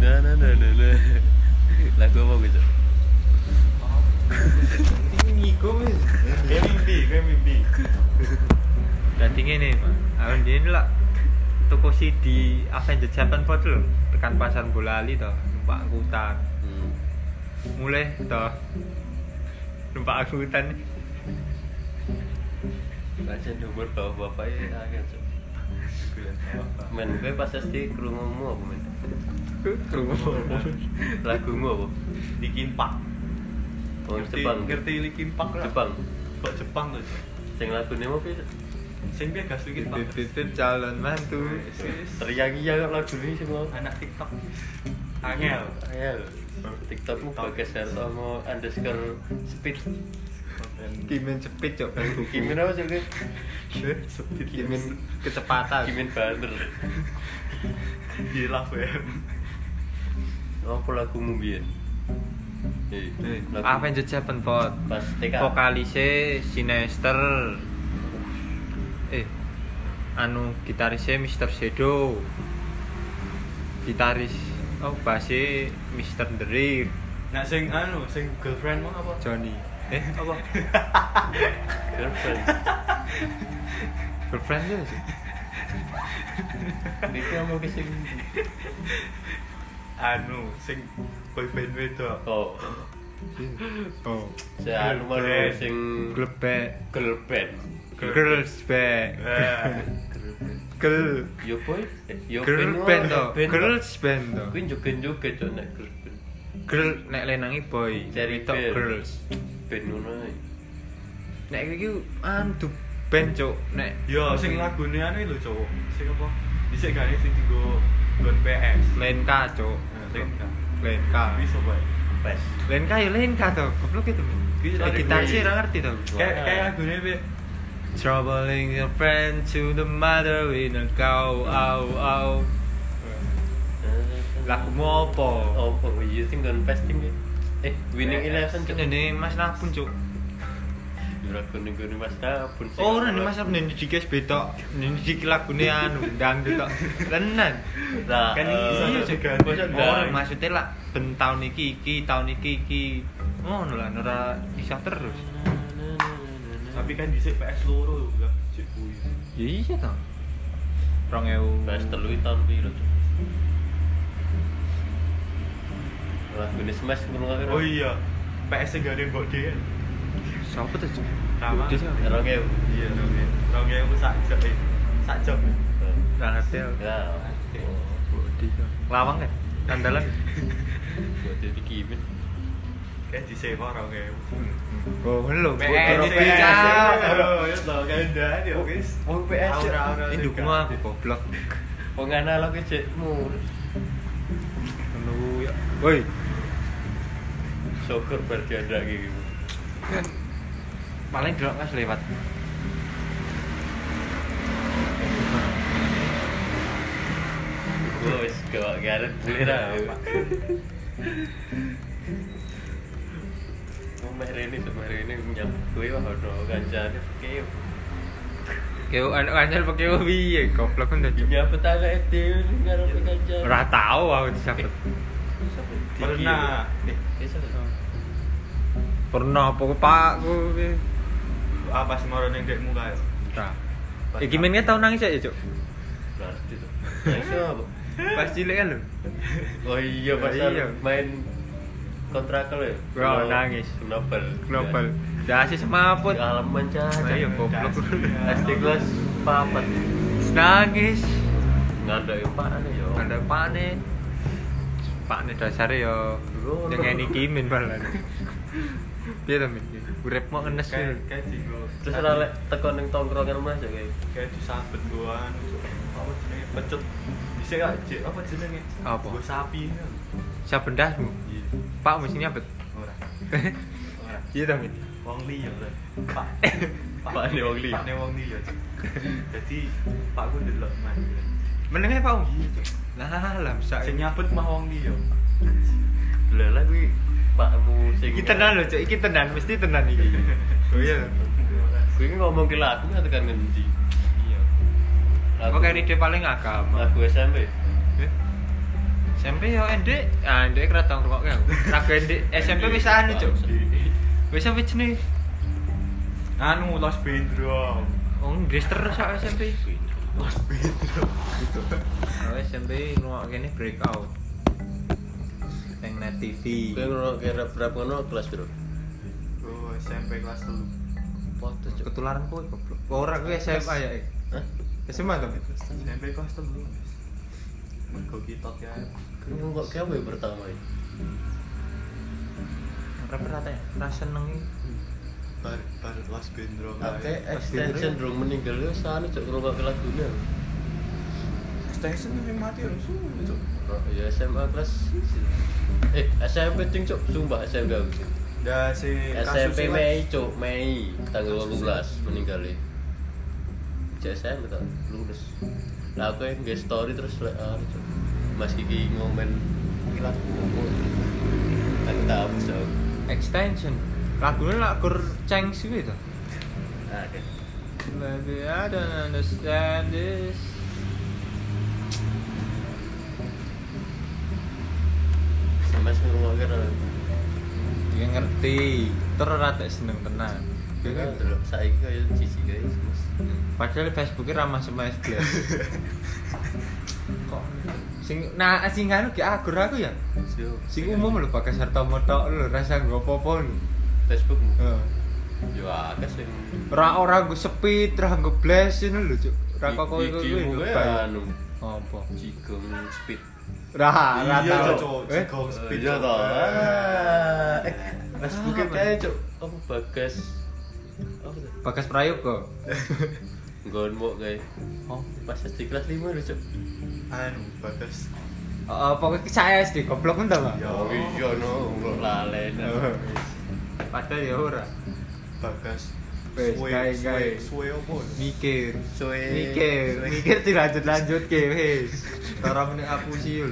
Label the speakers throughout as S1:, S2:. S1: na na na na. Lagu apa gitu?
S2: Ini komis. Kayak mimpi, kayak mimpi.
S3: Dadi ngene, Mas. Awak dhewe lak toko CD Avenger Japan Pot lho, tekan pasar Bolali to, numpak angkutan.
S1: Hmm.
S3: Mulai to. Numpak angkutan.
S1: Baca nomor bawah bapak ya agak cok. Men, gue pas SD kerungumu apa men? Lagumu apa?
S2: Bikin pak.
S1: Oh,
S2: Ngerti-
S1: Jepang.
S2: Ngerti likin pak lah.
S1: Jepang.
S2: Pak Jepang tuh. Cok.
S1: Sing lagune mau pi
S2: Sing dia gas likin pak.
S3: Titit calon mantu.
S2: Sis.
S1: teriak-teriak lagune sing mau.
S2: Anak TikTok. Angel.
S1: Ayo. TikTokmu bergeser sama underscore speed.
S3: Kimen cepit cok.
S1: Kimin apa sih gue?
S3: Kimen kecepatan.
S1: Kimin banter.
S2: Di love web.
S1: Apa lagumu biyen? Eh,
S3: Eh,
S1: lagu-
S3: Avenger Japan Pot.
S1: pas TK.
S3: vokalise Sinister eh anu gitarisnya Mr. Shadow gitaris oh bassnya Mr. Drift
S2: Nah sing anu, sing girlfriend mau apa?
S3: Johnny eh apa
S1: Girlfriend.
S3: girlfriend ya sih
S1: Iki mau ke sing.
S2: Anu, sing boyband wedok.
S1: Oh,
S3: oh
S1: saya anu mau
S2: Girlfriend.
S1: sing
S3: girl band
S1: girlfriend.
S3: girls band
S2: Eh,
S3: girl
S1: Yo boy, eh, yo
S3: girl band to girls band to
S1: Gue joget-joget tuh nek girlfriend.
S3: girl nek lenangi boy
S1: Cari
S3: tok
S1: band.
S3: girls
S1: Band ngono ae.
S3: nek iki andu band cok nek
S2: Yo, sing lagune anu lho cowok. Sing apa? Dhisik gane sing dienggo nggon PS.
S3: Lenka cok
S2: Nah, Lenka.
S3: Lenka
S2: Bisa bae.
S1: Pas.
S3: Lenka ya Lenka tuh goblok itu
S1: Gue
S3: Eh,
S1: cari
S3: gitarisnya
S1: gue.
S3: orang ngerti tuh
S2: Kayak kayak lagune pi.
S3: Troubling your friend to the mother with a cow Ow ow Lagumu apa?
S1: Oh, Eh. oh, you think on fasting ya? Eh, winning eleven
S3: Cuk
S1: cok.
S3: Ini mas napun cuk
S1: Jurah kuning kuning mas tabun. sih.
S3: Oh ini mas apa ini dikes betok Ini dikes lagunya anu Dangdut tok Tenan
S1: Nah,
S2: Kan
S1: eh,
S2: bisa
S3: Iya
S2: juga.
S3: cuk
S1: bisa
S3: Oh
S1: dang.
S3: maksudnya lah Ben tahun iki iki tahun iki iki Oh lah nora bisa terus
S2: Tapi kan dhisik PS loro lho, Bang. Cek kuwi.
S3: Ya iya toh. 2000.
S1: Bahas telu iki tahun piro cok? Lagune smash ngono kan.
S2: Oh iya. PS sing gane mbok dhewe.
S3: Sopo tuh? Cuk?
S2: Rama.
S3: Budi siapa?
S1: Rong ewu.
S2: Iya, oke. Rong ewu sak jam. eh, Sak jam.
S3: Nggak ngerti aku.
S1: Ya.
S3: Budi siapa? Lawang kan? Andalan.
S1: Buat jadi kimin.
S2: Kayak disewa rong ewu.
S3: Oh, ini lho.
S2: PS,
S3: Budi
S2: PS,
S3: Cak.
S2: Aduh, ya tau kan dah, ya guys.
S1: Oh, PS.
S2: Aura-aura
S3: Ini dukung
S2: juga.
S3: aku goblok.
S1: Wong analog e jekmu.
S3: Telu ya. Woi,
S1: Syukur berarti ada iki.
S3: paling delok kas lewat.
S1: Gua wis gawak garet boleh ra. Wong merene semerene nyambut kowe wah ono kancane kaya
S3: Kau anak anjir pakai hobi ya, goblok kan udah cuk.
S1: nyambut anak SD karo kancane.
S3: Ora tau aku disabet.
S2: Pernah. Eh,
S3: Pernah apa Pak? Ku
S2: apa sih moro ning dekmu kae?
S3: Ora. Iki mainnya Eh, tau nangis ya, Cuk.
S1: Berarti tuh. Nice apa?
S3: Pas cilik kan lho.
S1: Oh iya
S3: Oh,
S1: pasal
S3: iya.
S1: main kontrakal ya.
S3: Wah, nangis.
S1: Global.
S3: Global. Dasi semaput.
S1: Alaman
S3: Nah, iya,
S1: caca.
S3: goblok.
S1: SD kelas papat.
S3: Nangis.
S1: Ngandai parane ya.
S3: Ada pane. Pane dasare yo.
S1: Ngono.
S3: Yang ngene iki min balan. Piye ta min? Urip mau ngenes
S2: Kayak
S3: min.
S2: kayak dienggo.
S1: Terus ora lek teko ning tongkrongan Mas ya kayak.
S2: kayak disabet gua anu, Cuk. apa jenenge pecut bisa gak Cik? apa jenenge
S3: Apa?
S2: gua sapi
S3: Saben dasmu.
S2: iya
S3: Pak mesti nyabet.
S2: ora ora
S3: Piye ta min?
S2: wong liya Bro. pak
S1: Pak ne wong liya.
S2: pak ne wong liya Cuk. jadi pak gua delok man Bro.
S3: Menenge Pak. Um?
S2: iya Cuk.
S3: Lah lah bisa.
S2: sing nyabet mah wong liya
S1: Lala kuwi pakmu sing.
S3: Iki tenan lho, Cuk. Iki tenan, mesti tenan iki. Oh iya.
S1: Kuwi ki ngomong ke lagu nggak tekan ngendi?
S2: iya
S3: Kok kayak ide paling agama.
S1: Lagu SMP.
S3: Eh? SMP yo endek. Ah, endek kira tau ngrungokke aku. Ragu endek SMP wis anu, Cuk. Wis apa jenenge?
S2: Anu Los Bendrom.
S3: Wong Oh, Inggris terus sak SMP.
S2: Los Bendrom.
S3: Aku SMP ngrungokke ini breakout. Neng net TV.
S1: Gue ngono kira berapa ngono kelas bro?
S2: Gue SMP kelas 3.
S1: Foto cuk.
S3: Ketularan kowe goblok. Ora kowe SMA ya. eh.
S1: Hah?
S3: SMA to.
S2: SMP kelas 3. Mergo kitok ya.
S1: Ini kok gawe pertama ya?
S3: Rata-rata ya. Ra seneng iki.
S2: Bar bar Los Bendrom.
S1: Oke,
S3: eh,
S2: ae.
S1: extension dong meninggal lu sana cuk rumah kelas dunia.
S2: Extension tapi mati langsung. Cuk.
S1: Ya SMA kelas eh SMP ting cuk sumpah SMP aku, Cuk.
S2: Dah Ya, si
S1: SMP
S2: Eh, kasus
S1: Mei cuk Mei
S2: ya.
S1: tanggal 12 meninggal ya. Cek SMP tak lulus. Lah aku yang nge story terus lah ah, cuk. Mas Kiki ngomen kilat kumpul. Aku tak hapus aku.
S3: Extension. Lagune lak gur ceng suwe to.
S2: Ah,
S1: Ada.
S3: Maybe I don't understand this.
S1: Sampai ngurung akhirnya.
S3: Dia ngerti, terus rata seneng tenan.
S1: Kayaknya delok gitu, saiki kaya cici kaya mas.
S3: Padahal Facebooknya ramah sama SBS. Kok sing nah sing anu ki agur aku ya.
S1: Siap.
S3: Sing umum lho pakai serta moto lho rasa nggo apa-apa lho.
S1: Facebookmu.
S3: Heeh.
S1: Yo akeh sing
S3: Ora ora nggo speed, ora nggo blast ngono lho, Cuk. Ora kok kowe
S1: Iki-
S3: kowe
S1: ikimu
S3: lho,
S1: kae
S3: Bay.
S1: anu
S3: Apa?
S1: jigong speed.
S3: Ora ora
S2: Iya,
S3: tau.
S2: Cuk.
S3: Eh,
S2: Jigong speed.
S1: Iya
S2: Cuk.
S1: toh. Ah, eh, Facebooknya
S3: Apa?
S1: kayak cok apa bagas apa tuh?
S3: Bagas Prayoga.
S1: Nggon mok kayak
S3: Oh.
S1: pas SD kelas 5 lho cok.
S2: Anu batas.
S3: Apa oh, ki saya SD goblok ndang, Pak?
S2: Ya
S1: Oh, iya no ngurung lalen.
S3: Padahal ya ora.
S2: bagas.
S3: Wes,
S2: Suwe,
S3: gawe,
S2: suwe,
S3: gawe.
S2: suwe apa?
S3: mikir
S1: Suwe.
S3: mikir
S1: Suwe.
S3: mikir dilanjut lanjut ke wes cara menit aku siul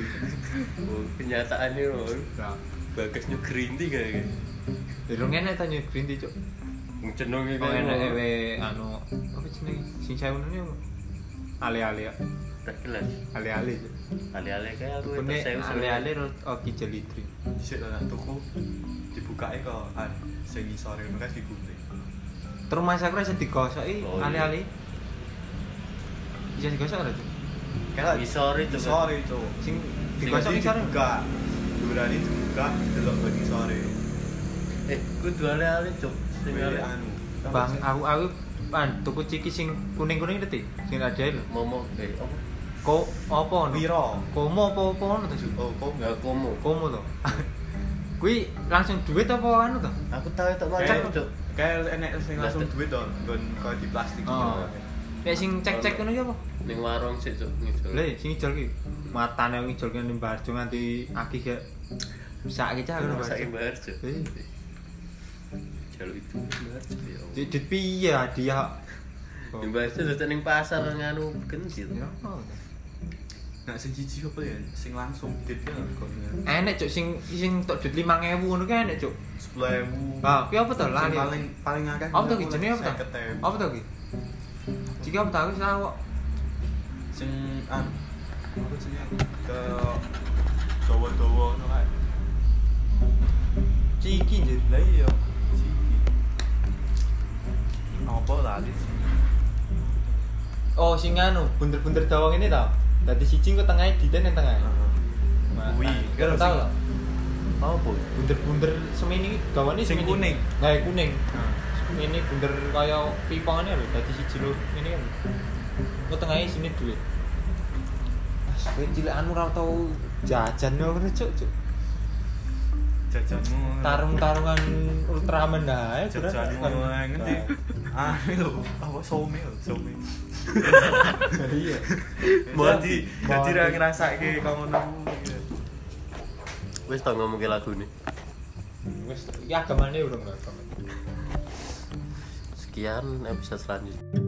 S1: Oh, Kenyataannya lho
S3: nah
S1: bagas nyugrinti kayak gitu.
S3: Durung enak ta nyut green tea cuk
S1: Cenderung
S3: kok enak ewe anu apa jenenge sing saya ngene ale-ale ya
S1: kelas.
S3: ale-ale Cuk.
S1: Ale-ale kayak aku
S3: Kene
S1: tersewa-sewa.
S3: ale-ale oh, rot oki jelitri
S2: Dhisik lah nak tuku dibukake kok an sing isore ngono kan digunting.
S3: terus masa aku rasa digosoki
S1: Oh, iya.
S3: ale-ale bisa digosok ora Cuk?
S2: Kayak
S1: Isore, Cuk.
S2: Isore itu.
S3: sing digosok iki sore
S2: dibuka. Durane dibuka delok ben isore.
S1: Eh, kudu ale-ale cok. Sing
S2: Sing
S1: ale
S2: anu.
S3: bang aku aku pan tuku ciki sing kuning-kuning itu sing ada lho
S1: momo eh apa?
S3: kok apa ono
S2: Piro?
S3: komo apa apa ono to Cuk?
S2: Oh, kok
S1: Enggak komo.
S3: Komo to. Kuwi langsung duit apa anu to?
S1: Aku tahu tak
S2: Kayak-
S1: macam cok.
S2: Kayak enek sing langsung
S1: Plastik.
S2: duit don, don kaya di plastik
S3: Oh.
S2: gitu.
S3: Nek sing cek-cek ngono iki apa?
S1: Ning warung sih cok ngidul.
S3: Lha sing ijol ki. Matane wong ijol ki nimbar nganti aki gak bisa iki cah ngono
S1: Masak
S3: Pak.
S1: imbar cok.
S3: Eh.
S1: Jaluk itu imbar cok. ya Allah.
S3: Di- Dit piye hadiah? Oh.
S1: Imbar cok tetep ning pasar nganu gentil.
S3: Ya, apa?
S2: Nah, sing siji apa ya? Sing langsung duit ya kok.
S3: Enek cuk sing sing tok duit 5000 ngono ki enek cuk.
S2: 10.000.
S3: Ah, kuwi apa to
S2: Sing
S3: lali?
S2: Paling paling akeh.
S3: Apa to ki jenenge apa to? Oh.
S2: 50.000.
S3: Apa to ki? Jika apa tahu sih awak
S2: sing an apa jenenge ke dawa-dawa ngono kae.
S3: ciki njir.
S2: Lah iya. Siki. Apa lali sih?
S3: Oh, sing anu, bunder-bunder dawang ini tau. Dadi siji engko tengahe diten yang tengah.
S2: Kuwi,
S3: kira tau
S2: kira sing-
S3: lah.
S1: Apa?
S3: bunder-bunder semini gawane
S2: Sing kuning.
S3: Nah, kuning.
S2: Nah.
S3: Ini bunder kaya pipane lho, dadi siji lho. Ini kan. Engko tengahe sini duit. Mas, kowe cilik anu ora tau jajan lho ngono cuk cuk.
S2: Jajanmu.
S3: Tarung-tarungan Ultraman nah, ya, dah ae.
S2: jajanmu ngendi? Anu lho, apa some lho, some.
S3: Iya.
S2: Bodi, dadi ra
S3: Body.
S2: ngrasake kok ngono. kuwi.
S1: Wis tau ngomong ke lagu nih.
S3: Wis, ya agamane urung agama.
S1: Sekian episode selanjutnya.